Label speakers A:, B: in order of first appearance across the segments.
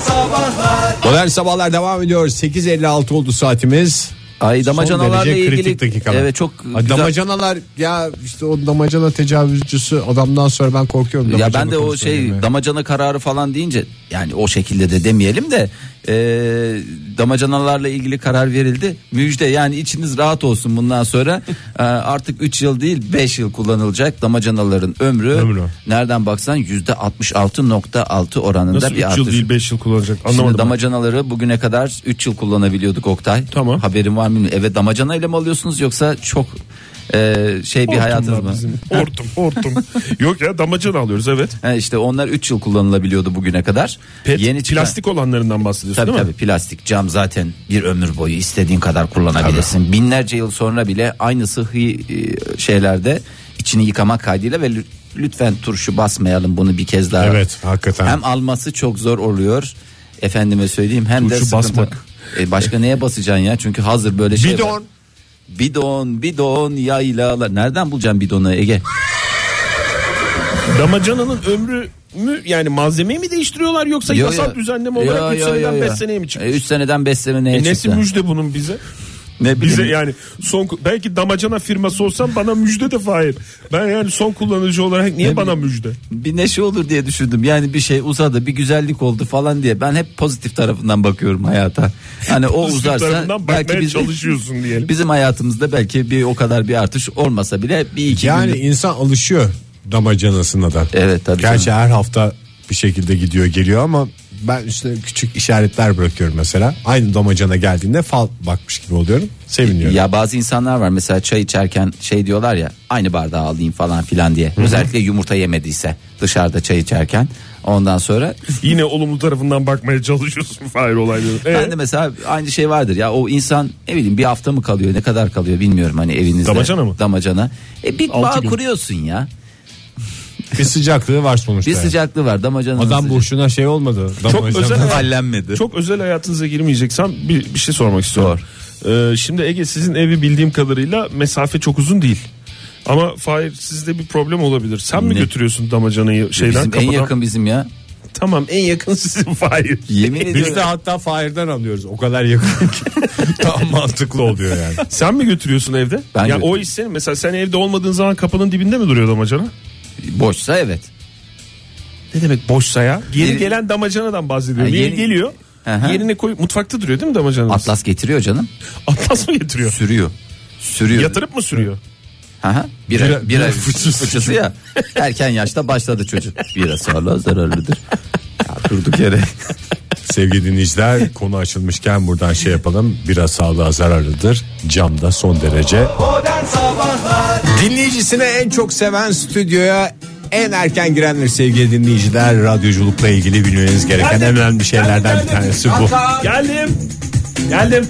A: sabahlar.
B: Modern sabahlar devam ediyor. 8.56 oldu saatimiz.
C: Ay
B: Son
C: damacanalarla
B: derece
C: ilgili
B: kritik dakikalar.
C: evet çok
B: Ay,
C: güzel.
B: Damacanalar ya işte o damacana tecavüzcüsü adamdan sonra ben korkuyorum.
C: ya
B: damacana
C: ben de o
B: konusunda
C: şey
B: yani.
C: damacana kararı falan deyince yani o şekilde de demeyelim de e, damacanalarla ilgili karar verildi. Müjde yani içiniz rahat olsun bundan sonra E, artık 3 yıl değil 5 yıl kullanılacak damacanaların ömrü,
D: Ömrü.
C: nereden baksan %66.6 oranında
D: Nasıl 3
C: bir
D: yıl
C: artış.
D: değil 5 yıl kullanacak
C: Şimdi
D: anlamadım. ben.
C: damacanaları bugüne kadar 3 yıl kullanabiliyorduk Oktay.
D: Tamam.
C: Haberin var mı? bilmiyorum. Eve damacana ile mi alıyorsunuz yoksa çok e, şey bir hayatınız mı?
D: Hortum hortum. Yok ya damacana alıyoruz evet.
C: Ha, işte onlar 3 yıl kullanılabiliyordu bugüne kadar.
D: Pet,
C: çıkan-
D: plastik olanlarından bahsediyorsun
C: Tabii
D: değil
C: tabii
D: mi?
C: plastik cam zaten bir ömür boyu istediğin kadar kullanabilirsin. Binlerce yıl sonra bile aynı sıhhi e, şeylerde içini yıkamak kaydıyla ve lü- lütfen turşu basmayalım bunu bir kez daha.
B: Evet hakikaten.
C: Hem alması çok zor oluyor. Efendime söyleyeyim hem de
D: Turşu
C: sıkıntı.
D: basmak.
C: E, başka neye basacaksın ya? Çünkü hazır böyle şey. var.
B: Bidon.
C: Bidon, bidon, yaylalar. Nereden bulacaksın bidonu Ege?
D: Damacananın ömrü mü yani malzemeyi mi değiştiriyorlar yoksa
C: Yo,
D: yasal
C: yo.
D: düzenleme
C: Yo,
D: olarak 3
C: yo,
D: seneden
C: yo, yo.
D: 5 seneye mi çıkıyor?
C: E, üç seneden 5 seneye
D: E, nesi
C: çıktı.
D: müjde bunun bize?
C: ne bileyim.
D: Bize yani son belki damacana firması olsam bana müjde de Fahir. Ben yani son kullanıcı olarak niye bana müjde?
C: bir neşe olur diye düşündüm. Yani bir şey uzadı, bir güzellik oldu falan diye. Ben hep pozitif tarafından bakıyorum hayata. Hani o
D: Pozitif
C: uzarsa
D: tarafından
C: belki
D: bakmaya
C: biz,
D: çalışıyorsun diyelim.
C: Bizim hayatımızda belki bir o kadar bir artış olmasa bile bir iki
B: Yani
C: günlük-
B: insan alışıyor damacanasına da.
C: Evet, tabii
B: Gerçi her hafta bir şekilde gidiyor geliyor ama ben üstüne küçük işaretler bırakıyorum mesela. Aynı damacana geldiğinde fal bakmış gibi oluyorum. Seviniyorum.
C: Ya bazı insanlar var mesela çay içerken şey diyorlar ya aynı bardağı alayım falan filan diye. Özellikle yumurta yemediyse dışarıda çay içerken ondan sonra
D: Yine olumlu tarafından bakmaya çalışıyorsun Fahir olayları. Ee,
C: Ben de mesela aynı şey vardır ya o insan ne bileyim bir hafta mı kalıyor ne kadar kalıyor bilmiyorum hani evinizde.
D: Damacana mı?
C: Damacana. E bir
D: Altı
C: bağ
D: gün.
C: kuruyorsun ya.
B: Bir sıcaklığı var sonuçta.
C: Bir
B: yani.
C: sıcaklığı var damacananın.
B: Adam
C: sıcak-
B: boşuna şey olmadı.
D: Çok özel
C: hallenmedi.
D: Çok özel hayatınıza girmeyeceksem bir, bir şey sormak istiyorum. Ee, şimdi Ege sizin evi bildiğim kadarıyla mesafe çok uzun değil. Ama Fahir sizde bir problem olabilir. Sen mi
C: Ne?
D: götürüyorsun damacanayı şeyden
C: Bizim en
D: kapıdan?
C: yakın bizim ya.
D: Tamam en yakın sizin Fahir.
C: Yemin
B: Biz de
C: ediyorum.
B: hatta Fahir'den alıyoruz. O kadar yakın ki. Tam mantıklı oluyor yani.
D: Sen mi götürüyorsun evde?
C: Ben
D: ya
C: götürüyorum.
D: o iş senin. Mesela sen evde olmadığın zaman kapının dibinde mi duruyor damacana?
C: Boşsa evet.
D: Ne demek boşsa ya? Yeni
C: Yeni-
D: gelen damacanadan bahsediyorum.
C: Ha,
D: yeni,
C: yeni-
D: geliyor.
C: Aha.
D: Yerine koy mutfakta duruyor değil mi damacanamız?
C: Atlas getiriyor canım.
D: Atlas mı getiriyor?
C: Sürüyor. Sürüyor.
D: Yatırıp mı sürüyor?
C: Aha. Bir
B: Bira-
C: ay, bir
B: bira
C: ay
B: fıçısı.
C: fıçısı ya. Erken yaşta başladı çocuk. Bira sağlığa zararlıdır. Ya durduk yere.
B: Sevgili dinleyiciler konu açılmışken buradan şey yapalım. Biraz sağlığa zararlıdır. Camda son derece.
A: Modern Sabahlar
B: Dinleyicisine en çok seven stüdyoya en erken girenler sevgili dinleyiciler. Radyoculukla ilgili bilmeniz gereken en önemli şeylerden bir tanesi bu.
D: Geldim. Geldim.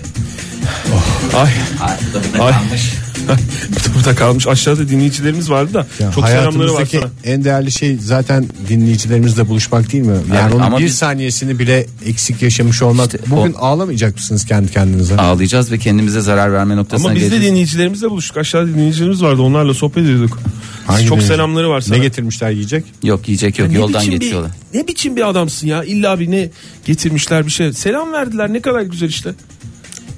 D: Oh, Ay. Ay. Burada kalmış. Aşağıda dinleyicilerimiz vardı da.
B: Yani
D: çok selamları var
B: hayatımızdaki
D: sana.
B: en değerli şey zaten dinleyicilerimizle buluşmak değil mi? Yani
C: Evet,
B: onun
C: ama
B: bir
C: biz-
B: saniyesini bile eksik yaşamış olmak.
C: İşte
B: Bugün ağlamayacak mısınız kendi kendinize?
C: Ağlayacağız ve kendimize zarar verme noktasına
D: Ama biz de
C: geleceğiz.
D: dinleyicilerimizle buluştuk. Aşağıda dinleyicilerimiz vardı. Onlarla sohbet ediyorduk.
B: Hangi
D: çok
B: dinleyici?
D: selamları var sana.
B: Ne getirmişler yiyecek?
C: Yok yiyecek
B: Hani
C: yok.
D: Ne
C: Yoldan
D: biçim bir-
C: geçiyorlar.
D: ne biçim bir adamsın ya? İlla bir ne getirmişler bir şey. Selam verdiler. Ne kadar güzel işte.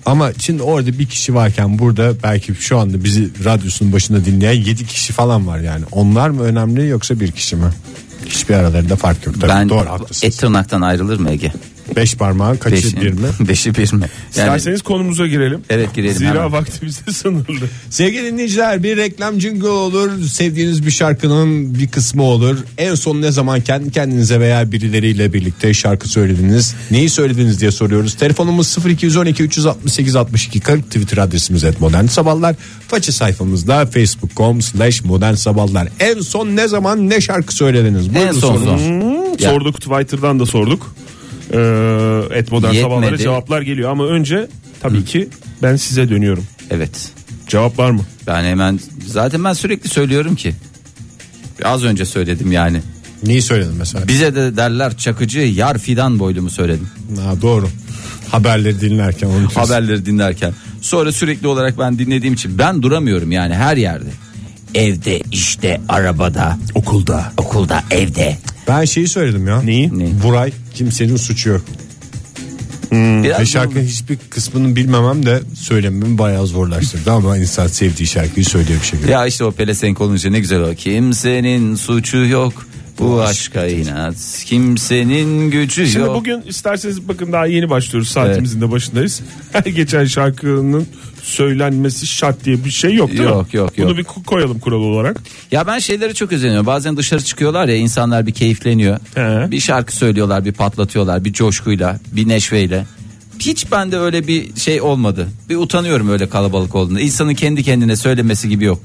B: Ama şimdi orada bir kişi varken burada belki şu anda bizi radyosunun başında dinleyen 7 kişi falan var yani. Onlar mı önemli yoksa bir kişi mi? Hiçbir aralarında fark yok tabii.
C: Ben
B: Doğru haklısınız.
C: et tırnaktan ayrılır mı Ege?
B: Beş parmağın kaçı
C: Beşi-
B: bir mi?
C: Beşi bir mi? Yani
D: İsterseniz konumuza girelim.
C: Evet, girelim
D: Zira
C: hemen.
D: vaktimiz de sınırlı.
B: Sevgili dinleyiciler bir reklam jingle olur. Sevdiğiniz bir şarkının bir kısmı olur. En son ne zaman kendi kendinize veya birileriyle birlikte şarkı söylediniz? Neyi söylediniz diye soruyoruz. Telefonumuz 0212 368 62 40 Twitter adresimiz et modern sabahlar. Faça sayfamızda facebook.com slash modern sabahlar. En son ne zaman ne şarkı söylediniz?
C: en son
B: sorunuz.
C: son. Ya.
D: Sorduk Twitter'dan da sorduk. Ee, et modern
C: Yetmedi.
D: sabahlara cevaplar geliyor ama önce tabii ki ben size dönüyorum.
C: Evet.
D: Cevap var mı?
C: Ben hemen zaten ben sürekli söylüyorum ki. Az önce söyledim yani.
B: Neyi söyledin mesela?
C: Bize de derler çakıcı yar fidan boylumu söyledim.
B: Ha, doğru. Haberleri dinlerken onu
C: Haberleri dinlerken. Sonra sürekli olarak ben dinlediğim için ben duramıyorum yani her yerde. Evde, işte, arabada,
B: okulda.
C: okulda, evde.
B: Ben şeyi söyledim ya.
D: Neyi?
C: Neyi?
B: Buray kimsenin suçu yok.
C: Biraz
B: Ve şarkının hiçbir kısmını bilmemem de söylememi bayağı zorlaştırdı ama insan sevdiği şarkıyı söylüyor bir şekilde.
C: Ya işte o pelesenk olunca ne güzel o. Kimsenin suçu yok. Bu aşka inat. Kimsenin gücü
D: Şimdi
C: yok.
D: bugün isterseniz bakın daha yeni başlıyoruz saatimizin de başındayız. Her geçen şarkının söylenmesi şart diye bir şey yok değil mi?
C: Yok, yok, yok.
D: Bunu bir koyalım kural olarak.
C: Ya ben şeylere çok özeniyorum. Bazen dışarı çıkıyorlar ya insanlar bir keyifleniyor.
D: He.
C: Bir şarkı söylüyorlar, bir patlatıyorlar, bir coşkuyla, bir neşveyle. Hiç bende öyle bir şey olmadı. Bir utanıyorum öyle kalabalık olduğunda. İnsanın kendi kendine söylemesi gibi yok.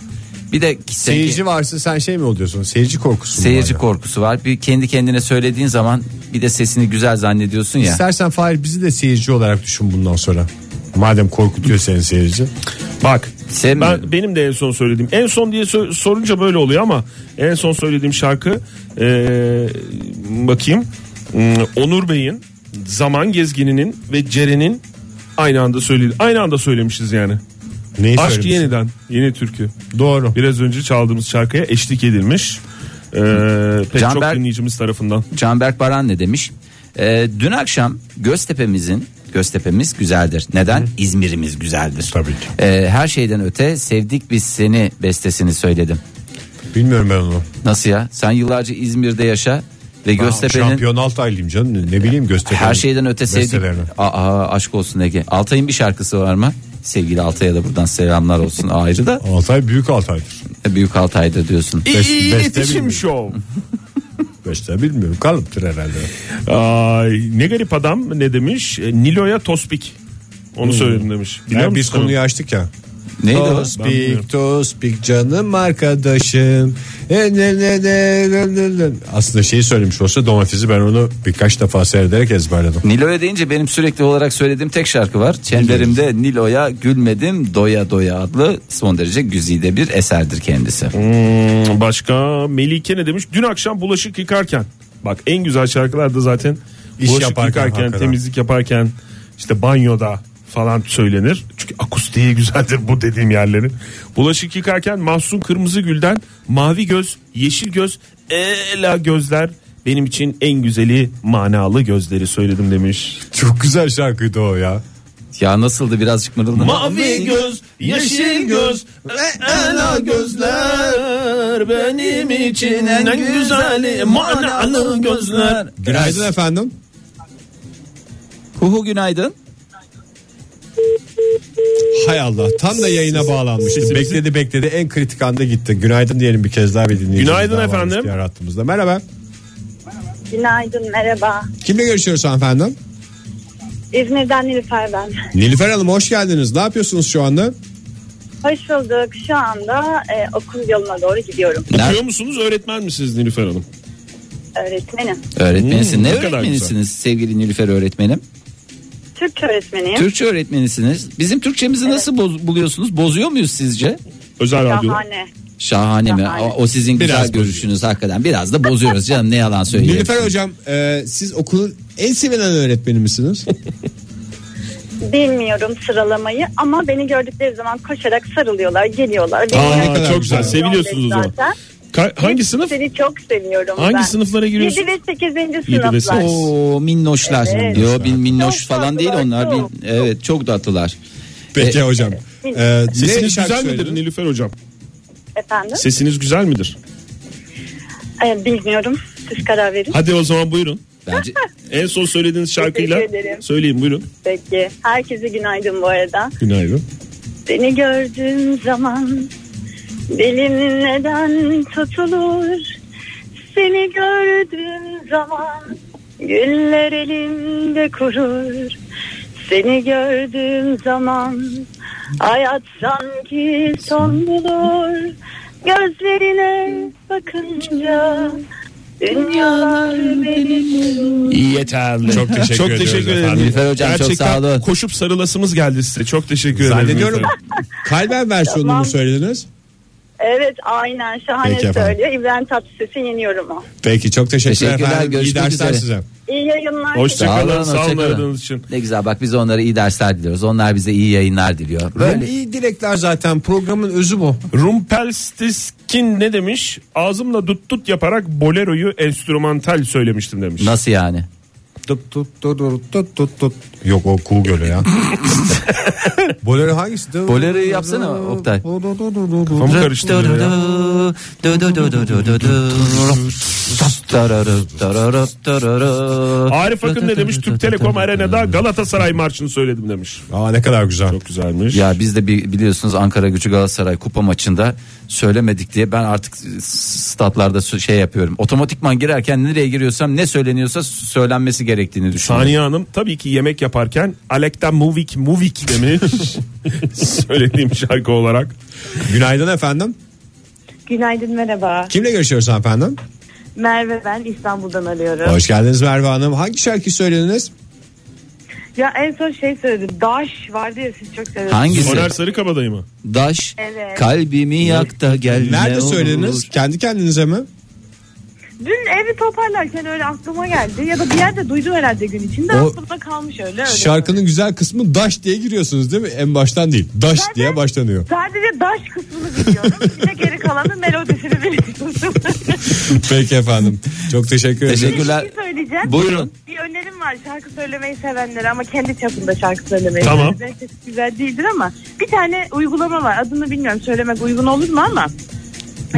C: Bir de
B: Seyirci varsa sen şey mi oluyorsun? Seyirci korkusu mu
C: seyirci
B: var ya?
C: korkusu var. Bir kendi kendine söylediğin zaman bir de sesini güzel zannediyorsun ya.
B: İstersen Fahir bizi de seyirci olarak düşün bundan sonra. Madem korkutuyor seni seyirci.
D: Bak
C: Sen-
D: ben, benim de en son söylediğim en son diye so- sorunca böyle oluyor ama en son söylediğim şarkı ee, bakayım Hmm, Onur Bey'in Zaman Gezgini'nin ve Ceren'in aynı anda söyledi aynı anda söylemişiz yani.
B: Neyi
D: Aşk
B: söylemişsin?
D: yeniden yeni türkü.
B: Doğru.
D: Biraz önce çaldığımız şarkıya eşlik edilmiş. Ee, pek çok
C: Canberk-
D: dinleyicimiz tarafından.
C: Canberk Baran ne demiş? Ee, dün akşam Göztepe'mizin Göztepe'miz güzeldir. Neden? İzmir'imiz güzeldir.
B: Tabii ki.
C: Ee, her şeyden öte sevdik biz seni bestesini söyledim.
B: Bilmiyorum ben onu.
C: Nasıl ya? Sen yıllarca İzmir'de yaşa ve Göztepe'nin
B: Şampiyon Altaylıyım canım. Ne bileyim Göztepe'nin.
C: her şeyden öte sevdik.
B: bestelerini.
C: Aa, aşk olsun Ege. Altay'ın bir şarkısı var mı? Sevgili Altay'a da buradan selamlar olsun ayrı da
B: Altay büyük Altay'dır.
C: büyük Altay'da diyorsun.
B: Best-
D: İyi
B: beste
D: iletişim
B: bilmiyorum.
D: şov.
B: Beşte bilmiyorum. Kalıptır herhalde.
D: Ay, ne garip adam ne demiş? E, Nilo'ya tospik. Onu söyledim demiş. Biliyor
B: Yani Hmm. biz
D: musun?
B: konuyu açtık ya.
C: Neydi o?
B: Tospik tospik canım arkadaşım. E, ne, ne, ne, ne, ne, ne. Aslında şeyi söylemiş olsa domatesi ben onu birkaç defa seyrederek ezberledim.
C: Nilo'ya deyince benim sürekli olarak söylediğim tek şarkı var. Çemberimde Nilo'ya gülmedim doya doya adlı son derece güzide bir eserdir kendisi.
D: Hmm, başka Melike ne demiş? Dün akşam bulaşık yıkarken. Bak en güzel şarkılar da zaten
B: İş
D: bulaşık
B: yaparken,
D: yıkarken,
B: hakikaten.
D: temizlik yaparken, işte banyoda falan söylenir. Çünkü akustiği güzeldir bu dediğim yerlerin. Bulaşık yıkarken Mahsun Kırmızı Gül'den Mavi Göz, Yeşil Göz, Ela Gözler benim için en güzeli manalı gözleri söyledim demiş.
B: Çok güzel şarkıydı o ya.
C: Ya nasıldı birazcık mırıldanın?
D: Mavi göz, yeşil göz ve ela gözler benim için en güzeli manalı gözler.
B: Günaydın efendim.
C: Huhu günaydın.
B: Hay Allah tam da yayına bağlanmıştım.
D: sesimizi-
B: Bekledi bekledi en kritik anda gitti. Günaydın diyelim bir kez daha bir dinleyicimiz
D: Günaydın
B: daha varmış
D: efendim.
B: diğer hattımızda. Merhaba.
E: Günaydın, merhaba.
B: Kimle görüşüyoruz hanımefendi?
E: İzmir'den Nilüfer ben.
B: Nilüfer Hanım hoş geldiniz. Ne yapıyorsunuz şu anda?
E: Hoş bulduk. Şu anda e, okul yoluna doğru gidiyorum.
D: Okuyor musunuz öğretmen misiniz Nilüfer Hanım?
E: Öğretmenim.
C: Öğretmenisin.
D: Hmm,
C: ne
D: ne kadar
C: öğretmenisiniz sevgili Nilüfer öğretmenim?
E: Türkçe öğretmeniyim.
C: Türkçe öğretmenisiniz. Bizim Türkçemizi nasıl boz- buluyorsunuz? Bozuyor muyuz sizce?
D: Özel radyo.
E: Şahane.
C: Şahane mi?
E: Şahane.
C: O, o sizin güzel
B: Biraz
C: görüşünüz hakikaten. Biraz da bozuyoruz canım ne yalan söyleyeyim.
B: Nilüfer Hocam e, siz okulun en sevilen öğretmeni misiniz?
E: Bilmiyorum sıralamayı ama beni gördükleri zaman koşarak sarılıyorlar, geliyorlar. Beni
D: Aa,
E: görüyorlar.
D: çok güzel. Seviliyorsunuz o zaman.
E: Zaten.
D: Ka- hangi sınıf?
E: Seni çok seviyorum
D: Hangi
E: ben.
D: sınıflara giriyorsun?
E: 7 ve 8.
D: ve
E: sınıflar.
D: sekiz.
C: Oo minnoşlar.
E: Evet.
C: Yo bin minnoş
E: Çok
C: falan değil
E: tatlılar,
C: onlar.
E: çok.
C: Bin- evet çok tatlılar.
B: Peki hocam. E, ne
D: Sesiniz
B: şarkı
D: güzel midir
B: söyledin?
D: Nilüfer Hocam?
E: Efendim?
D: Sesiniz güzel midir?
E: E, bilmiyorum. Siz karar verin.
D: Hadi o zaman buyurun.
C: Bence
D: En son söylediğiniz şarkıyla
E: Teşekkür ederim.
D: söyleyin buyurun.
E: Peki. Herkese günaydın bu arada.
D: Günaydın.
E: Seni gördüğüm zaman dilim neden tutulur? Seni gördüğüm zaman güller elimde kurur. Seni gördüğüm zaman hayat sanki son bulur. Gözlerine bakınca dünyalar benim.
D: Yeterli. Çok teşekkür, çok
B: ediyoruz
D: teşekkür ederim.
B: efendim.
C: Nilüfer Hocam, çok
D: Gerçekten
C: sağ olun.
D: koşup sarılasımız geldi size. Çok teşekkür ederim.
B: Zannediyorum
D: Nilüfer Hanım.
B: kalben versiyonunu
E: Tamam.
B: mu söylediniz?
E: Evet aynen şahane
B: Peki efendim.
E: söylüyor. İbrahim Tatlıses'i yeniyorum o.
B: Peki çok teşekkürler,
C: Teşekkürler,
B: efendim. İyi
C: görüşmek
B: dersler
C: üzere.
B: size.
E: İyi yayınlar.
D: Hoşça
C: Sağ olun,
D: kalın. Sağ olun
C: hoşça kalın.
D: aradığınız için.
C: ne güzel bak biz onlara iyi dersler diliyoruz. Onlar bize iyi yayınlar diliyor.
B: Böyle.
C: Böyle
B: iyi dilekler zaten programın özü bu.
D: Rumpelstiltskin ne demiş? Ağzımla dut dut yaparak boleroyu enstrümantal söylemiştim demiş.
C: nasıl yani?
B: Dup dup dur dur tut tut tut. Yok o kuğu gölü ya. Bolero hangisi?
C: Bolero'yu yapsana Oktay.
D: Kafamı karıştırıyor ya. Arif Akın ne demiş? Türk Telekom Arena'da Galatasaray Marşı'nı söyledim demiş.
B: Aa ne kadar güzel.
D: Çok güzelmiş.
C: Ya biz de bi- biliyorsunuz Ankara Gücü Galatasaray kupa maçında söylemedik diye ben artık s- statlarda s- şey yapıyorum. Otomatikman girerken nereye giriyorsam ne söyleniyorsa s- söylenmesi gerektiğini düşünüyorum.
D: Saniye Hanım tabii ki yemek yaparken Alekta Muvik Muvik demiş. Söylediğim şarkı olarak.
B: Günaydın efendim.
E: Günaydın merhaba.
B: Kimle görüşüyoruz efendim?
E: Merve ben İstanbul'dan arıyorum.
B: Hoş geldiniz Merve Hanım. Hangi şarkıyı söylediniz?
E: Ya en son şey söyledim. Daş vardı ya siz çok seviyorsunuz.
C: Hangisi?
D: Soner Sarıkabadayı mı?
C: Daş
E: Evet.
C: kalbimi yak da gel. ne
B: Nerede
C: olur.
B: söylediniz? Kendi kendinize mi?
E: Dün evi toparlarken öyle aklıma geldi. Ya da bir yerde duydum herhalde gün içinde.
B: O-
E: Aklımda kalmış öyle. öyle.
B: Şarkının güzel kısmı daş diye giriyorsunuz değil mi? En baştan değil. Daş
E: Zaten-
B: diye başlanıyor.
E: Sadece daş kısmını biliyorum. bir de geri kalanı melodisini biliyorum.
B: Peki efendim. Çok teşekkür ederim.
C: Teşekkürler.
E: Bir şey söyleyeceğim.
C: Buyurun.
E: Bir önerim var şarkı söylemeyi sevenlere ama kendi çapında şarkı söylemeyi.
D: Tamam.
E: sevenlere. Belki güzel değildir ama bir tane uygulama var. Adını bilmiyorum söylemek uygun olur mu ama.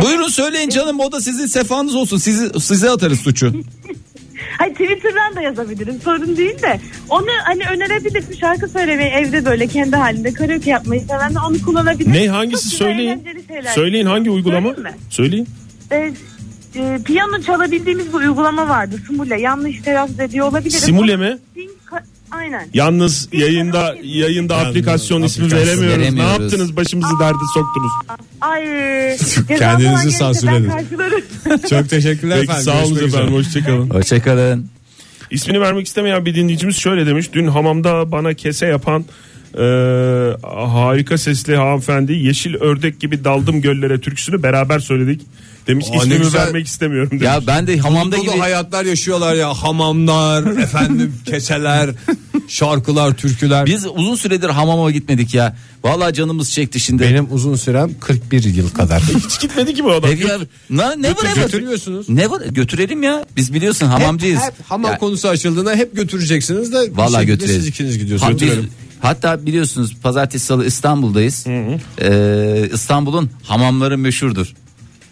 C: Buyurun söyleyin canım o da sizin sefanız olsun. Sizi, size atarız suçu.
E: Hayır Twitter'dan da yazabilirim sorun değil de. Onu hani önerebilirim şarkı söylemeyi evde böyle kendi halinde karaoke yapmayı sevenler onu kullanabilir.
D: Ne hangisi
E: Çok güzel,
D: söyleyin.
E: eğlenceli şeyler.
D: Söyleyin hangi uygulama?
E: Söyleyeyim mi?
D: Söyleyin.
E: Ee, e, piyano çalabildiğimiz bir uygulama vardı. Simule. Yanlış telaffuz ediyor olabilirim.
D: Simule mi?
E: Ding- ka- Aynen.
D: Yalnız yayında yayında aplikasyon ismi
B: aplikasyon
D: veremiyoruz. Ne
C: veremiyoruz.
D: yaptınız? Başımızı derde soktunuz.
E: Ay.
B: Kendinizi
E: ceza falan gelirse ben
B: sansürledin.
E: karşılarım.
B: Çok teşekkürler
D: Peki
B: efendim.
D: sağ olun
B: Görüşmek üzere.
D: efendim. Hoşçakalın.
C: Hoşçakalın.
D: İsmini vermek istemeyen bir dinleyicimiz şöyle demiş. Dün hamamda bana kese yapan e, harika sesli hanımefendi Yeşil Ördek gibi daldım göllere türküsünü beraber söyledik. Demiş
B: Aa, ne
D: ismini
B: güzel.
D: vermek istemiyorum demiş.
C: Ya ben de hamamda
B: Dolu
C: gibi
B: hayatlar yaşıyorlar ya. Hamamlar, efendim keseler, şarkılar, türküler.
C: biz uzun süredir hamama gitmedik ya. Vallahi canımız çekti şimdi.
B: Benim uzun sürem 41 yıl kadar.
D: Hiç gitmedi ki bu adam.
C: Ev ya, na, never ever.
B: Götürmüyorsunuz.
C: Ne var? Götürelim ya. Biz biliyorsun hamamcıyız.
B: Hep, hep hamam
C: Ya,
B: konusu açıldığında hep götüreceksiniz de. bir
C: Vallahi
B: şekilde
C: götürelim.
B: Siz ikiniz
C: Ha-
B: gidiyorsunuz. Götürelim.
C: biz- hatta biliyorsunuz pazartesi salı İstanbul'dayız. Ee, İstanbul'un hamamları meşhurdur.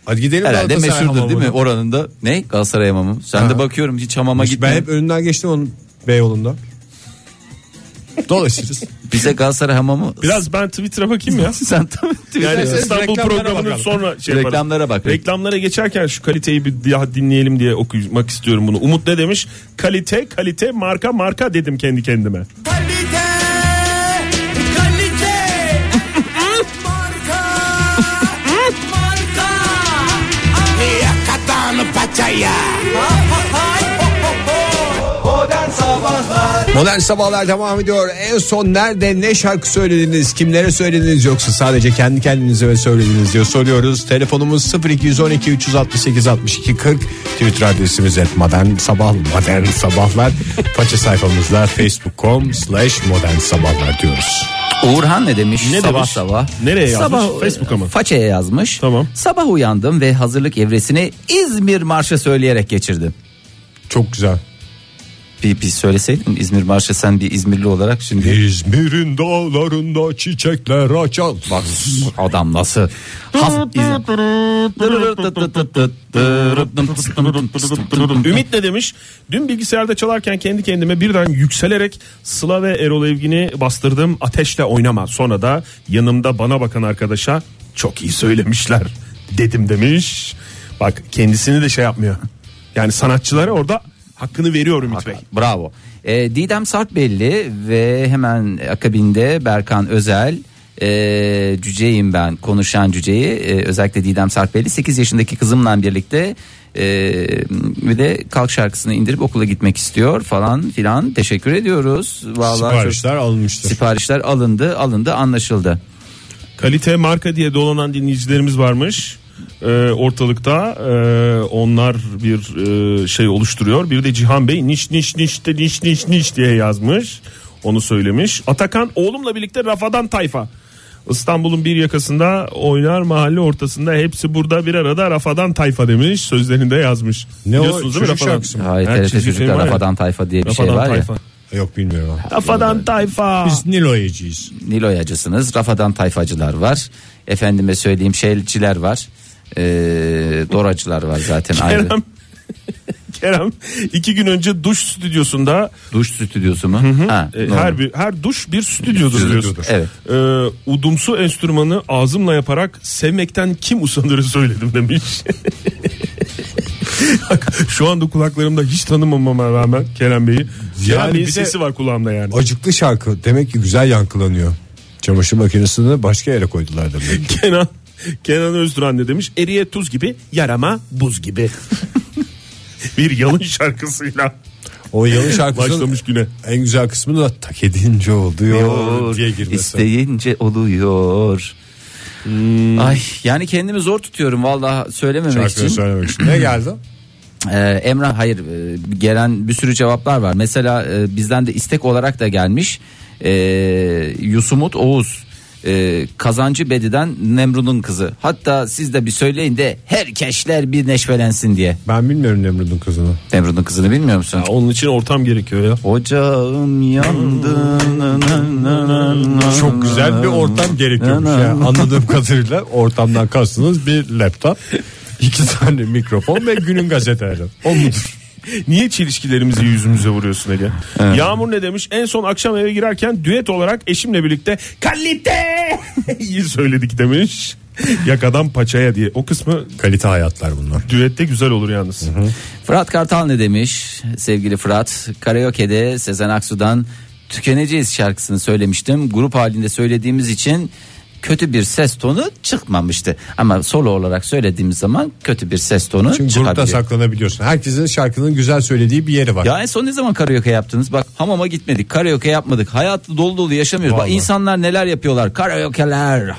B: Hadi gidelim.
C: Herhalde
B: Galatasaray
C: meşhurdur değil mi?
B: hamamına.
C: Oranın da ne? Galatasaray hamamı. Sen de bakıyorum hiç hamama
B: Ben
C: gitme.
B: hep önünden geçtim onun Beyoğlu'nda. Dolaşırız.
C: Bize Galatasaray hamamı.
D: Biraz ben Twitter'a bakayım ya.
C: sen tam
D: Yani
B: İsterseniz
D: İstanbul
B: reklamlara
D: programının
B: bakalım.
D: sonra şey yaparız.
C: Reklamlara bak.
D: Reklamlara geçerken şu kaliteyi bir daha dinleyelim diye okumak istiyorum bunu. Umut ne demiş? Kalite, kalite, marka, marka dedim kendi kendime.
A: Kalite, kalite. marka, marka. Yakatan paçaya. Modern Sabahlar
B: Modern Sabahlar devam ediyor. En son nerede ne şarkı söylediniz, kimlere söylediniz yoksa sadece kendi kendinize mi söylediniz diye soruyoruz. Telefonumuz 0212 368 62 40. Twitter adresimiz et modern sabah modern sabahlar. Faça sayfamızda facebook.com slash modern sabahlar diyoruz.
C: Uğurhan ne demiş?
D: Ne
C: sabah
D: demiş?
C: sabah.
D: Nereye yazmış? Facebook'a mı?
C: Faça'ya yazmış.
D: Tamam.
C: Sabah uyandım ve hazırlık evresini İzmir Marşı söyleyerek geçirdim.
B: Çok güzel.
C: Bir, bir söyleseydim İzmir Marşı sen bir İzmirli olarak şimdi
B: İzmir'in dağlarında çiçekler açan. Bak
C: adam nasıl? Has- İzmir.
D: Ümit ne demiş? Dün bilgisayarda çalarken kendi kendime birden yükselerek Sıla ve Erol Evgin'i bastırdım. Ateşle oynama. Sonra da yanımda bana bakan arkadaşa çok iyi söylemişler dedim demiş. Bak kendisini de şey yapmıyor. Yani sanatçılara orada hakkını veriyor Ümit Bey.
C: Bravo. Ee, Didem Sartbelli ve hemen akabinde Berkan Özel. E, cüceyim ben konuşan cüceyi e, özellikle Didem Sarpbelli 8 yaşındaki kızımla birlikte e, bir de kalk şarkısını indirip okula gitmek istiyor falan filan teşekkür ediyoruz. Vallahi çok-
B: siparişler alınmıştır.
C: siparişler alındı alındı anlaşıldı.
D: Kalite marka diye dolanan dinleyicilerimiz varmış e, ortalıkta. E, onlar bir e, şey oluşturuyor. Bir de Cihan Bey niş niş niş de niş niş niş diye yazmış. Onu söylemiş. Atakan oğlumla birlikte Rafadan Tayfa. İstanbul'un bir yakasında oynar mahalle ortasında hepsi burada bir arada Rafadan Tayfa demiş sözlerinde yazmış.
B: Ne o,
D: Biliyorsunuz değil mi
B: çocuk
D: Rafadan?
B: şarkısı mı?
C: Hayır
D: Ha,
C: TRT
D: çizgi film
C: çocuklar
D: var ya.
C: Rafadan Tayfa diye bir şey
D: Rafadan
C: var ya.
D: Tayfa.
B: Yok bilmiyorum. abi.
D: Rafadan Tayfa.
B: Biz Niloyacıyız.
C: Niloyacısınız. Rafadan tayfacılar var. Efendime söyleyeyim şeyciler var. Ee, doracılar var zaten ayrı.
D: Kerem, Kerem iki gün önce duş stüdyosunda
C: Duş stüdyosu mu? Ha,
D: e,
C: doğru.
D: her bir her duş bir stüdyodur diyorsun.
C: Evet.
D: Ee, udumsu enstrümanı ağzımla yaparak sevmekten kim usanır söyledim demiş. Bak, Şu anda kulaklarımda hiç tanımamama rağmen Kerem Bey'i. Kerem
B: Yani
D: Bey'in
B: bir de-
D: sesi var kulağımda yani.
B: Acıklı şarkı demek ki güzel yankılanıyor. Çamaşır makinesini başka yere koydular demek.
D: Kenan Kenan Özduran ne demiş? Eriye tuz gibi, yarama buz gibi. bir yalın şarkısıyla
B: O yalın şarkısının
D: başlamış güne.
B: en güzel kısmı da tak edince oluyor diye girmesi.
C: İsteyince oluyor.
D: Hmm.
C: Ay yani kendimi zor tutuyorum vallahi söylememek
B: Şarkıyı
C: için.
B: söylemek için. Ne geldi?
C: Ee, Emrah hayır e, gelen bir sürü cevaplar var. Mesela e, bizden de istek olarak da gelmiş. Ee, Yusumut Oğuz e, kazancı Bedi'den Nemrud'un kızı. Hatta siz de bir söyleyin de herkeşler bir neşvelensin diye.
B: Ben bilmiyorum Nemrud'un kızını.
C: Nemrud'un kızını bilmiyor musun?
D: Onun için ortam gerekiyor ya.
C: Ocağım yandı. na, na, na, na, na.
B: Çok güzel bir ortam gerekiyormuş ya. Anladığım kadarıyla ortamdan kastınız bir laptop, iki tane mikrofon ve günün gazeteleri. O mudur?
D: Niye çelişkilerimizi yüzümüze vuruyorsun Ege? Yağmur ne demiş? En son akşam eve girerken düet olarak eşimle birlikte kalite iyi söyledik demiş. Yakadan paçaya diye. O kısmı
B: Kalite hayatlar bunlar.
D: düette güzel olur yalnız.
C: Fırat Kartal ne demiş sevgili Fırat? Karaoke'de Sezen Aksu'dan Tükeneceğiz şarkısını söylemiştim. Grup halinde söylediğimiz için kötü bir ses tonu çıkmamıştı. Ama solo olarak söylediğimiz zaman kötü bir ses tonu
B: Çünkü grupta
C: çıkabiliyor.
B: saklanabiliyorsun. Herkesin şarkının güzel söylediği bir yeri var.
C: ya en son ne zaman karaoke yaptınız? Bak hamama gitmedik, karaoke yapmadık. Hayatı dolu dolu yaşamıyoruz. Bak
B: Vallahi.
C: insanlar neler yapıyorlar? Karaoke'ler,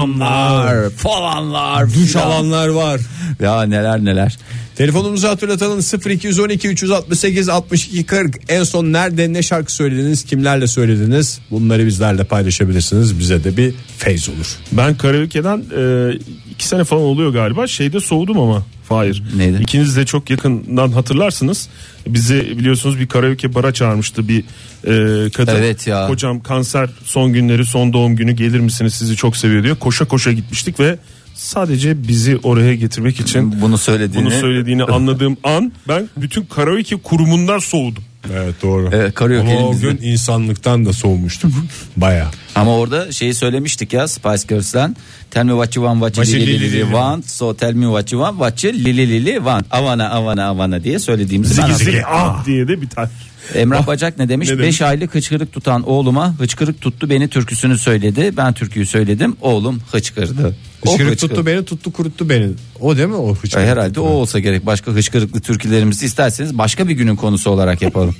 C: hamamlar, falanlar,
B: Duş
C: filan.
B: alanlar var.
C: Ya neler neler.
B: Telefonumuzu hatırlatalım 0212 368 62 40. En son nerede ne şarkı söylediniz, kimlerle söylediniz? Bunları bizlerle paylaşabilirsiniz. Bize de bir feyz olur.
D: Ben karaoke'den e, iki sene falan oluyor galiba. Şeyde soğudum ama. Hayır.
C: Neydi?
D: İkiniz de çok yakından hatırlarsınız. Bizi biliyorsunuz bir karaoke bara çağırmıştı bir e, kadın.
C: Evet ya.
D: Kocam kanser son günleri son doğum günü gelir misiniz sizi çok seviyor diyor. Koşa koşa gitmiştik ve sadece bizi oraya getirmek için
C: Bunu söylediğini.
D: bunu söylediğini anladığım an ben bütün karaoke kurumundan soğudum.
B: Evet doğru.
C: Evet, Ee, karaoke
B: Ama o
C: elimizde.
B: gün insanlıktan da soğumuştuk. Baya.
C: Ama orada şeyi söylemiştik ya Spice Girls'ten. Tell me what you want, what you
B: What you
C: really,
B: really,
C: really
B: really
C: want. So tell me what you want, what you really, really want. Avana, avana, avana diye söylediğimiz.
D: Zigi
C: bana-
D: zigi ah diye de biter.
C: Emrah Bacak ne demiş?
D: Ne
C: 5
D: demiş?
C: aylık hıçkırık tutan oğluma hıçkırık tuttu beni türküsünü söyledi. Ben türküyü söyledim. Oğlum hıçkırdı. O
B: Hıçkırık tuttu beni tuttu kuruttu beni. O değil mi o hıçkırık?
C: E, Herhalde o olsa gerek. Başka hıçkırıklı türkülerimizi isterseniz başka bir günün konusu olarak yapalım.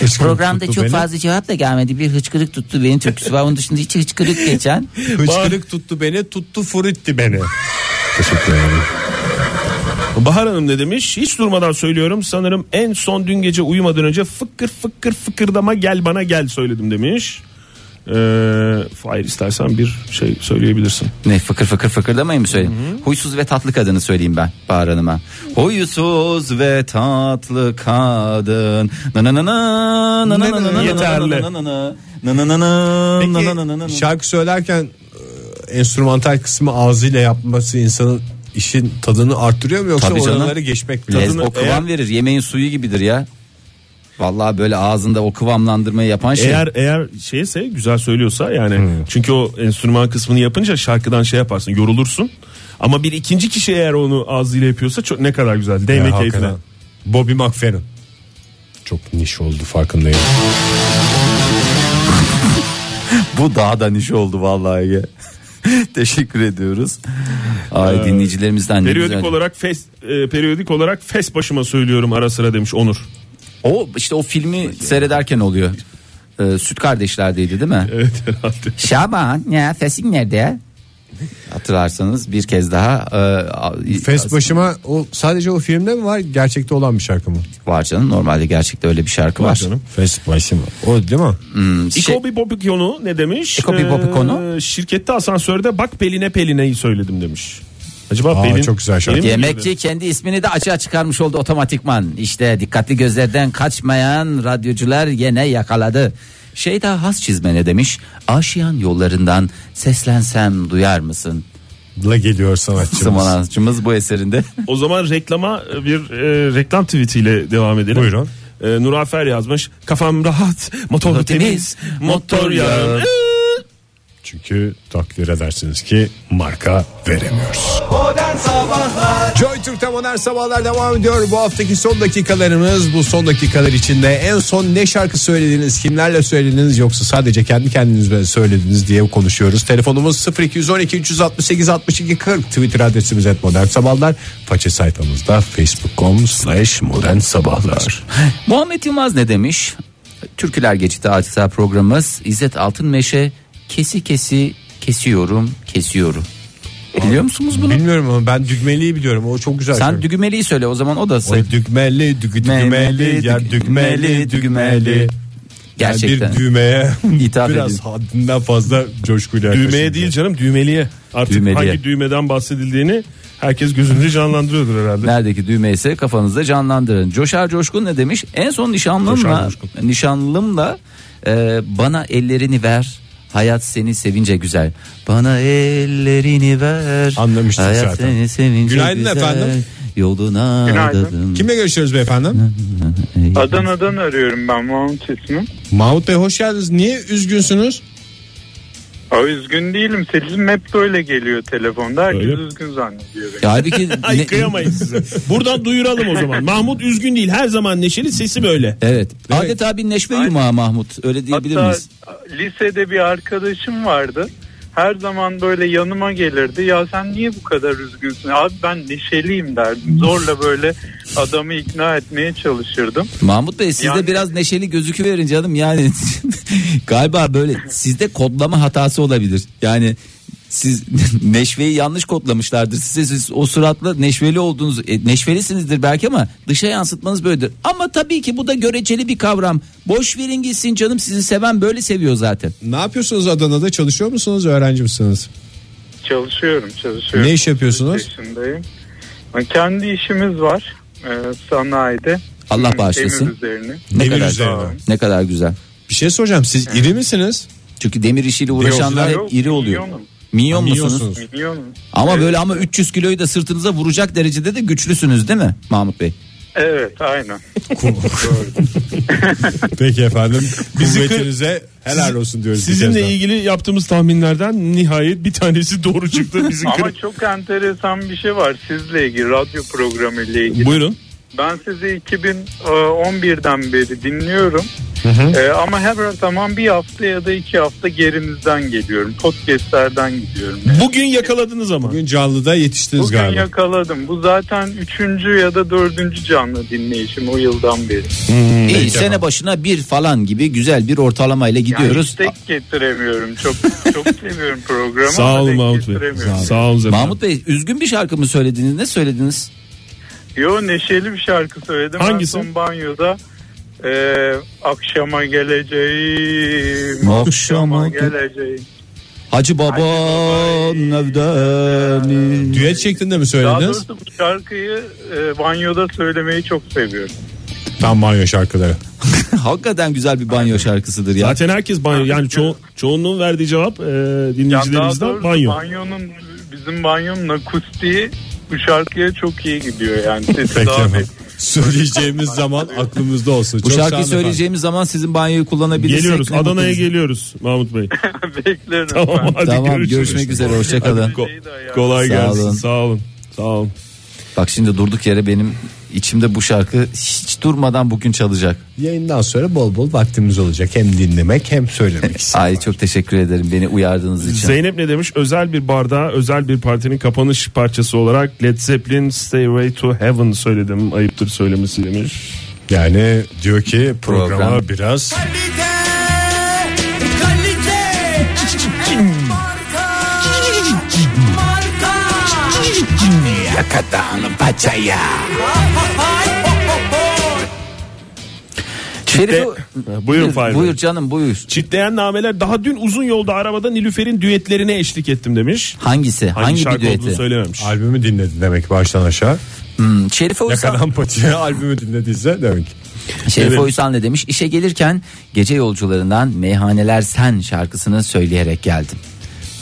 B: Hıçkırık
C: Programda
B: tuttu
C: çok
B: beni.
C: fazla cevap da gelmedi. Bir hıçkırık tuttu beni türküsü var. Onun dışında hiç hıçkırık geçen.
B: Hıçkırık tuttu beni tuttu furitti beni.
D: Bahar Hanım ne demiş? Hiç durmadan söylüyorum. Sanırım en son dün gece uyumadan önce fıkır fıkır fıkırdama gel bana gel söyledim demiş. Ee, Fahir istersen bir şey söyleyebilirsin.
C: Ne fıkır fıkır fıkırdamayın mı söyleyeyim? Huysuz ve tatlı kadını söyleyeyim ben Bahar Hanım'a. Huysuz ve tatlı kadın. Na na na na, na na na na na,
D: Yeterli.
C: na na na, na na na na, na na na na na.
B: Peki şarkı söylerken e, enstrümantal kısmı ağzıyla yapması insanın işin tadını arttırıyor mu yoksa
C: Tabii canım.
B: oraları geçmek mi?
C: Lez-
B: lazım?
C: o kıvam verir. Yemeğin suyu gibidir ya. Vallahi böyle ağzında o kıvamlandırmayı yapan şey.
D: Eğer eğer şeyse güzel söylüyorsa yani çünkü o enstrüman kısmını yapınca şarkıdan şey yaparsın yorulursun. Ama bir ikinci kişi eğer onu ağzıyla yapıyorsa çok ne kadar güzel.
B: Ya,
D: Değme keyfine.
B: hakikaten. Bobby McFerrin. Çok niş oldu farkındayım.
C: Bu daha da niş oldu vallahi. Ege. Teşekkür ediyoruz. Ay dinleyicilerimizden ne
D: Periyodik
C: güzel-
D: olarak fes e, periyodik olarak fes başıma söylüyorum ara sıra demiş Onur.
C: O işte o filmi seyrederken oluyor. Ee, süt kardeşlerdeydi değil mi?
D: Evet herhalde.
C: Şaban ya sesin nerede? Hatırlarsanız bir kez daha e, a-
B: Fes başıma o sadece o filmde mi var gerçekte olan bir şarkı mı?
C: var canım. Normalde gerçekte öyle bir şarkı var.
B: Fes başıma. O değil mi?
C: Şey-
D: İkobi Popikonu ne demiş?
C: İkobi Popikonu?
D: Ee, şirkette asansörde bak Pelin'e Pelin'e'yi söyledim demiş. Acaba
B: Aa,
D: Pelin
B: çok güzel şarkı.
D: Pelin mi
C: Yemekçi
D: söyledi?
C: kendi ismini de açığa çıkarmış oldu otomatikman. İşte dikkatli gözlerden kaçmayan radyocular yine yakaladı. Şeyda has çizme ne demiş? Aşiyan yollarından seslensem duyar mısın?
B: La geliyor sanatçımız.
C: Sımanancımız bu eserinde.
D: O zaman reklama bir e, reklam tweetiyle devam edelim.
B: Buyurun.
D: E, Nurafer yazmış. Kafam rahat, motor
C: Motor
D: temiz,
C: temiz,
D: motor
C: motor
D: yağı.
C: yağı."
B: Çünkü takdir edersiniz ki marka veremiyoruz.
A: Modern Sabahlar
B: Joy Türk'te modern sabahlar devam ediyor. Bu haftaki son dakikalarımız bu son dakikalar içinde en son ne şarkı söylediniz, kimlerle söylediniz yoksa sadece kendi kendiniz mi söylediniz diye konuşuyoruz. Telefonumuz 0212 368 62 40 Twitter adresimiz et modern sabahlar. Faça sayfamızda facebook.com slash modern sabahlar.
C: Muhammed Yılmaz ne demiş? Türküler Geçti Adeta programımız İzzet Altınmeşe kesi kesi kesiyorum kesiyorum. Biliyor musunuz bunu?
B: Bilmiyorum ama ben düğmeliyi biliyorum o çok güzel.
C: Sen
B: şarkı.
C: düğmeliyi söyle o zaman o da
B: Oy düğmeli, düğü düğmeli, yer düğmeli, düğmeli. Yani
C: Gerçekten.
B: bir düğmeye
C: İtiraf
B: biraz
C: edeyim.
B: haddinden fazla coşkuyla yaklaşıldı.
D: Düğmeye değil canım düğmeliye. Artık
C: Düğmeliye.
D: hangi düğmeden bahsedildiğini herkes gözünde canlandırıyordur herhalde.
C: Neredeki düğme ise kafanızda canlandırın. Coşar Coşkun ne demiş? En son nişanlımla nişanlımla e, bana ellerini ver. Hayat seni sevince güzel. Bana ellerini ver.
B: Anlamıştık
C: Hayat
B: zaten.
C: seni sevince
B: Günaydın
C: güzel.
B: efendim.
C: Yoluna
F: Günaydın.
C: adadım.
B: Kimle görüşüyoruz beyefendi?
F: Adana'dan arıyorum ben Mahmut ismim.
B: Mahmut Bey hoş geldiniz. Niye üzgünsünüz?
F: Aa, üzgün değilim. Sesim hep böyle geliyor telefonda. Herkes
D: Öyle mi?
F: üzgün zannediyor beni.
C: Ya halbuki
D: Ay
C: ne-
D: kıyamayız size. Buradan duyuralım o zaman. Mahmut üzgün değil. Her zaman neşeli sesi böyle.
C: Evet. Adeta bir neşve yumağı Mahmut. Öyle diyebilir
F: Hatta
C: miyiz?
F: lisede bir arkadaşım vardı. Her zaman böyle yanıma gelirdi. Ya sen niye bu kadar üzgünsün? Abi ben neşeliyim derdim. Zorla böyle adamı ikna etmeye çalışırdım.
C: Mahmut Bey sizde
F: Yani-
C: biraz neşeli gözüküverin canım yani galiba böyle sizde kodlama hatası olabilir. Yani siz neşveyi yanlış kodlamışlardır. Size siz o suratla neşveli olduğunuz e, neşvelisinizdir belki ama dışa yansıtmanız böyledir. Ama tabii ki bu da göreceli bir kavram. Boş verin gitsin canım sizi seven böyle seviyor zaten.
B: Ne yapıyorsunuz Adana'da? Çalışıyor musunuz? Öğrenci misiniz?
F: Çalışıyorum, çalışıyorum.
B: Ne iş yapıyorsunuz?
F: 30 yaşındayım. Yani Kendi işimiz var. Ee, sanayide.
C: Allah
F: Demir
C: bağışlasın.
F: üzerine.
C: Ne
B: Demir
C: kadar
B: üzerine.
C: ne kadar güzel.
B: Bir şey soracağım. Siz iri misiniz?
C: Çünkü demir işiyle uğraşanlar
F: Yok,
C: hep iri oluyor.
F: milyonum.
C: Minyon musunuz?
B: Minyonsunuz.
F: Milyonum.
C: Ama
F: Evet.
C: böyle ama 300 kiloyu da sırtınıza vuracak derecede de güçlüsünüz değil mi Mahmut Bey?
F: Evet aynen.
B: Peki efendim.
D: Bizi kır-
B: Kuvvetinize helal olsun diyoruz. bir kez
D: Sizinle
B: daha.
D: ilgili yaptığımız tahminlerden nihayet bir tanesi doğru çıktı. Bizi
F: Ama
D: kır-
F: çok enteresan bir şey var sizle ilgili radyo programı ile ilgili.
D: Buyurun.
F: Ben sizi 2011'den beri dinliyorum. Ee, ama her zaman bir hafta ya da iki hafta gerinizden geliyorum. Podcastlerden gidiyorum.
D: Bugün yakaladınız ama.
B: Bugün canlıda yetiştiniz
F: Bugün
B: galiba.
F: yakaladım. Bu zaten üçüncü ya da dördüncü canlı dinleyişim o yıldan beri.
D: Hmm.
C: İyi sene başına bir falan gibi güzel bir ortalamayla
F: Yani
C: gidiyoruz.
F: tek getiremiyorum. Çok çok seviyorum programı.
D: Sağ
F: ama
D: olun
F: tek
D: Mahmut Bey.
F: getiremiyorum.
D: Sağ olun efendim.
C: Mahmut Bey üzgün bir şarkı mı söylediniz? Ne söylediniz?
F: Yo neşeli bir şarkı söyledim.
D: Hangisi?
F: En son banyoda e, akşama geleceğim.
C: Akşama
F: geleceğim.
C: Hacı Baba evdeni.
B: Düet şeklinde mi
F: Daha
B: söylediniz?
F: doğrusu bu şarkıyı e, banyoda söylemeyi çok seviyorum.
B: Tam banyo şarkıları.
C: Hakikaten güzel bir banyo şarkısıdır ya.
D: Zaten herkes banyo. Yani ço- çoğunluğun verdiği cevap e,
F: Yani daha
D: dinleyicilerimizden
F: doğrusu
D: banyo.
F: banyonun bizim banyonun akustiği bu şarkıya çok iyi gidiyor yani. Sesi
B: Peki
F: daha
B: efendim. Söyleyeceğimiz zaman aklımızda olsun.
C: Bu
B: Çok sağ
C: şarkıyı
B: olun efendim.
C: söyleyeceğimiz zaman sizin banyoyu kullanabilirsek.
D: Geliyoruz.
C: ne mutlu
D: Adana'ya
C: bize.
D: geliyoruz Mahmut Bey.
F: beklerim.
D: Tamam
F: ben.
D: hadi
C: Tamam
D: görüşürüz.
C: görüşmek üzere hoşçakalın.
D: Ko-
F: Şeyi de ayarlayalım.
D: kolay
C: Sağ
D: gelsin.
C: olun.
D: Sağ olun. Sağ olun.
C: Bak şimdi durduk yere benim içimde bu şarkı hiç durmadan bugün çalacak.
B: Yayından sonra bol bol vaktimiz olacak. Hem dinlemek hem söylemek.
C: Ay çok teşekkür ederim beni uyardığınız için.
D: Zeynep ne demiş? Özel bir bardağa özel bir partinin kapanış parçası olarak Led Zeppelin Stairway to Heaven söyledim. Ayıptır söylemesi demiş.
B: Yani diyor ki programa
C: Program.
B: biraz
A: Kalite Kalite Marka
C: yakadan paçaya. Şerife,
D: Buyurun Fahir Bey.
C: Buyur canım buyur.
D: Çitleyen nameler daha dün uzun yolda arabada Nilüfer'in düetlerine eşlik ettim demiş.
C: Hangisi?
D: Hangi,
C: Hangi,
D: şarkı
C: bir
D: olduğunu
C: düeti?
D: söylememiş.
B: Albümü dinledi demek baştan aşağı.
C: Hmm, Şerife Uysal.
B: Yakadan paçaya albümü dinlediyse demek.
C: Şerife
D: Evet.
C: Uysal ne demiş? İşe gelirken gece yolcularından Meyhaneler Sen şarkısını söyleyerek geldim.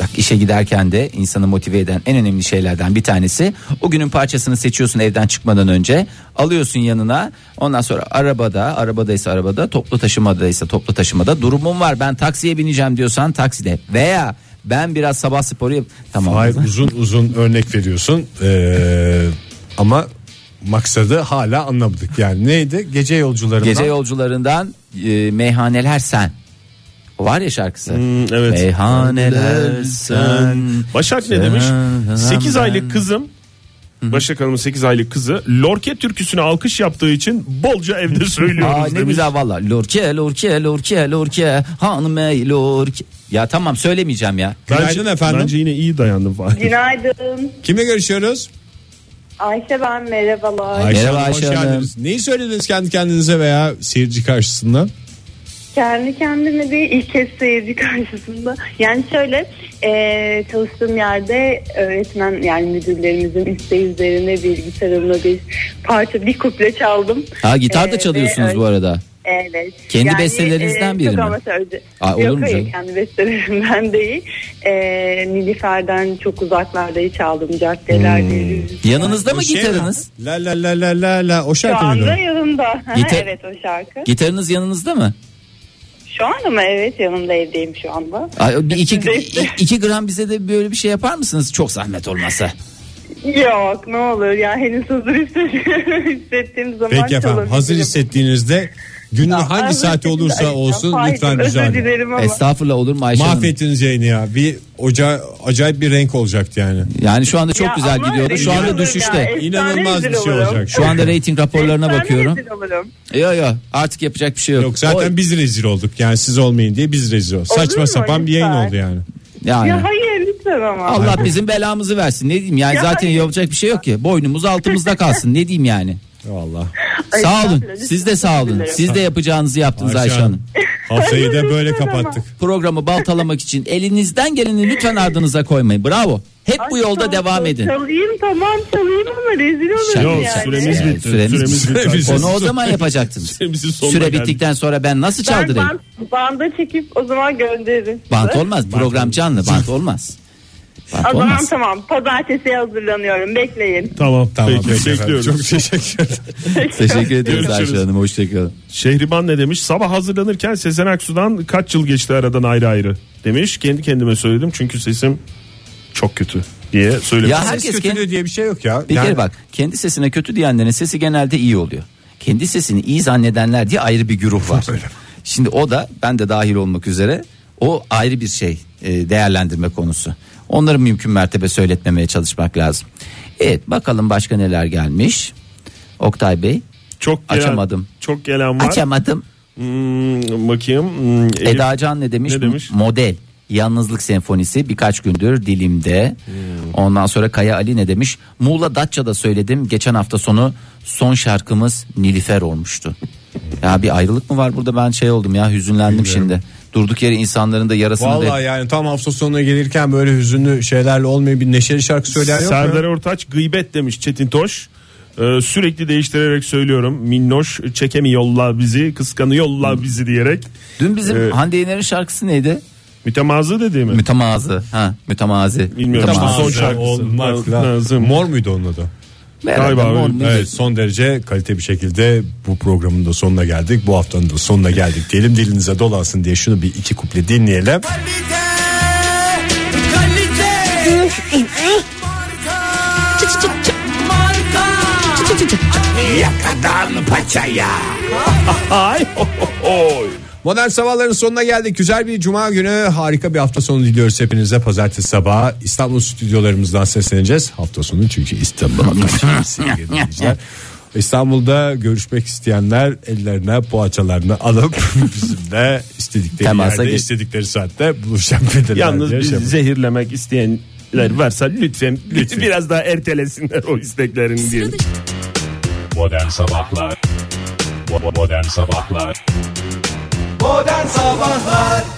C: Bak işe giderken de insanı motive eden en önemli şeylerden bir tanesi o günün parçasını seçiyorsun evden çıkmadan önce alıyorsun yanına ondan sonra arabada arabadaysa arabada toplu taşımadaysa toplu taşımada durumum var ben taksiye bineceğim diyorsan takside veya ben biraz sabah sporu yap tamam
B: Hayır uzun uzun örnek veriyorsun Ee, ama maksadı hala anlamadık. Yani neydi? Gece yolcularından.
C: Gece yolcularından e, meyhaneler sen. O var ya şarkısı.
D: Hmm, evet.
C: Meyhaneler sen.
D: Başak ne demiş? 8 aylık kızım Başak Hanım'ın 8 aylık kızı Lorke türküsüne alkış yaptığı için bolca evde söylüyoruz
C: Aa, ne
D: demiş.
C: güzel valla. Lorke lorke lorke lorke hanım ey lorke. Ya tamam söylemeyeceğim ya.
B: Günaydın efendim.
D: Bence yine iyi dayandım Fahir.
E: Günaydın.
B: Kime görüşüyoruz?
E: Ayşe ben merhabalar.
C: Merhaba
B: hoş
C: Ayşe Hanım.
B: geldiniz. Neyi söylediniz kendi kendinize veya seyirci karşısında?
E: Kendi kendime değil ilk kez seyirci karşısında. Yani şöyle e, çalıştığım yerde öğretmen yani müdürlerimizin isteği üzerine bir gitarımla bir parça bir kuple çaldım.
C: Ha gitar da
E: Ee,
C: çalıyorsunuz
E: ve-
C: bu arada.
E: Evet.
C: Kendi bestelerinizden
E: e,
C: biri
E: çok
C: mi?
E: amatörce.
C: Aa, olur
E: Yok
C: mu
E: hayır
C: canım?
E: kendi bestelerimden değil. E, Nilüfer'den çok uzaklarda çaldım
C: Hmm.
E: caddelerde.
C: Yanınızda mı
B: O şey mi?
C: gitarınız?
B: La la la la la la o
E: Şu
B: şarkı
E: anda
B: mıydı?
E: yanımda.
C: Gitar-
E: evet o şarkı.
C: Gitarınız yanınızda mı?
E: Şu anda mı? Evet yanımda evdeyim şu anda.
C: Ay, bir iki,
E: Neyse.
C: i- iki gram bize de böyle bir şey yapar mısınız? Çok zahmet olmasa.
E: Yok ne olur ya henüz hazır hissediyorum. hissettiğim zaman
B: Peki efendim
E: çalabilirim.
B: hazır hissettiğinizde günün
E: Ya,
B: hangi
E: özür
B: saati
E: dilerim.
B: olursa
E: Ya,
B: olsun
E: hayır,
B: lütfen
E: özür
B: rica ederim.
E: dilerim ama.
C: Estağfurullah olur mu Ayşe Hanım?
B: Mahvettiniz yayını ya. Bir oca, acayip bir renk olacaktı yani.
C: Yani şu anda çok
E: Ya
C: güzel
E: ama
C: gidiyordu. Şu
E: rezil
C: anda
E: olurum ya,
C: düşüşte.
E: efsane
B: İnanılmaz bir
E: rezil
B: şey
E: olurum.
B: olacak.
C: Şu anda reyting raporlarına
E: Efsane
C: bakıyorum.
E: rezil olurum.
C: Yok yok artık yapacak bir şey yok.
B: Yok zaten
C: Oy,
B: biz rezil olduk. Yani siz olmayın diye biz rezil olduk.
E: Olur
B: Saçma
E: mu?
B: sapan bir yayın
E: Lütfen.
B: oldu yani.
C: yani.
E: Ya hayır lütfen ama.
C: Allah bizim belamızı versin. Ne diyeyim yani
E: Ya
C: zaten
E: hayır.
C: yapacak bir şey yok ki. Boynumuz altımızda kalsın. Ne diyeyim yani?
B: Vallahi.
E: Ay,
C: sağ olun.
E: estağfurullah,
C: Siz de
E: lütfen,
C: sağ olun.
E: dilerim.
C: Siz de yapacağınızı yaptınız Ayşe, Hanım.
B: Haftayı da böyle
E: Lütfen ama.
B: kapattık.
C: Programı baltalamak için elinizden geleni lütfen ardınıza koymayın. Bravo. Hep bu
E: Ay,
C: yolda
E: tamam,
C: devam edin.
E: Çalayım tamam çalayım ama rezil olurum
C: Şaka
D: Yok
E: yani.
D: süremiz
C: Yani
D: bitti.
C: süremiz-
D: Süremiz bitti.
B: Süremiz-
C: Onu o zaman yapacaksınız.
D: Süremizin sonuna
C: Süre
D: geldik.
C: bittikten sonra ben nasıl
E: Ben
C: çaldırayım?
E: band, banda çekip o zaman gönderirim. size.
C: Bant olmaz. Program canlı. Bant olmaz. Bant
E: O zaman
C: olmaz.
E: tamam. Pazartesiye hazırlanıyorum. Bekleyin.
D: Tamam
B: Tamam,
D: tamam. Peki,
B: peki efendim.
D: bekliyoruz.
B: Çok teşekkür ederim.
C: Teşekkür ediyoruz
D: Görüşürüz.
C: Ayşe Hanım. Hoşçakalın.
D: Şehriban ne demiş? Sabah hazırlanırken Sezen Aksu'dan kaç yıl geçti aradan ayrı ayrı demiş. Kendi kendime söyledim çünkü sesim çok kötü diye söylemiş.
C: Ya herkes
B: Ses kötülüğü diye bir şey yok ya.
C: Bir
B: Yani
C: kere bak kendi sesine kötü diyenlerin sesi genelde iyi oluyor. Kendi sesini iyi zannedenler diye ayrı bir güruh var. Şimdi o da ben de dahil olmak üzere o ayrı bir şey e, değerlendirme konusu. Onları mümkün mertebe söyletmemeye çalışmak lazım. Evet bakalım başka neler gelmiş. Oktay Bey
D: Çok gelen,
C: Açamadım.
D: Çok gelen var.
C: açamadım.
D: Hmm, bakayım. Hmm, Elif-
C: Eda Can ne demiş?
D: Ne demiş?
C: Model. Yalnızlık Senfonisi birkaç gündür dilimde.
D: Hmm.
C: Ondan sonra Kaya Ali ne demiş? Muğla Datça'da söyledim. Geçen hafta sonu son şarkımız Nilüfer olmuştu.
D: Hmm.
C: ya bir ayrılık mı var burada ben şey oldum ya hüzünlendim şimdi. Durduk yere insanların da yarasını da-
B: Vallahi yani tam hafta sonuna gelirken böyle hüzünlü şeylerle olmuyor bir neşeli şarkı söyleyen yok mu?
D: Serdar
B: ya?
D: Ortaç gıybet demiş Çetin Toş. Ee, sürekli değiştirerek söylüyorum. Minnoş çekemiyorlar bizi, kıskanıyorlar bizi diyerek.
C: Dün bizim
D: Evet.
C: Hande Yener'in şarkısı neydi?
D: Mütemazı dediğimi.
C: Mütemazı. Ha, mütemazi.
D: Bilmiyorum.
B: Tamam,
D: Son
B: son
D: şarkısı.
B: şarkı olmak
D: Lazım.
B: lazım. Mor muydu onun adı?
C: Herhalde
D: Galiba
C: Mon-
D: öyle.
B: Evet son derece kalite bir şekilde bu programın da sonuna geldik. Bu haftanın da sonuna geldik diyelim. Dilinize dolansın diye şunu bir iki kuple dinleyelim.
D: Ay, ho, ho, hoy.
B: Modern sabahların sonuna geldik. Güzel bir cuma günü harika bir hafta sonu diliyoruz hepinize. Pazartesi sabahı İstanbul stüdyolarımızdan sesleneceğiz. Hafta sonu çünkü İstanbul'a kaçıyoruz sevgili dinleyiciler. İstanbul'da görüşmek isteyenler ellerine poğaçalarını alıp bizimle istedikleri
C: Temasa
B: yerde
C: geç-
B: istedikleri saatte buluşabilirler.
D: Yalnız
B: diye
D: biz
B: şey yapıyoruz.
D: zehirlemek isteyen varsa lütfen, lütfen biraz daha ertelesinler o isteklerini diyelim.
G: Sıra dışı-
B: Modern Sabahlar Bo- Modern Sabahlar
H: Modern Sabahlar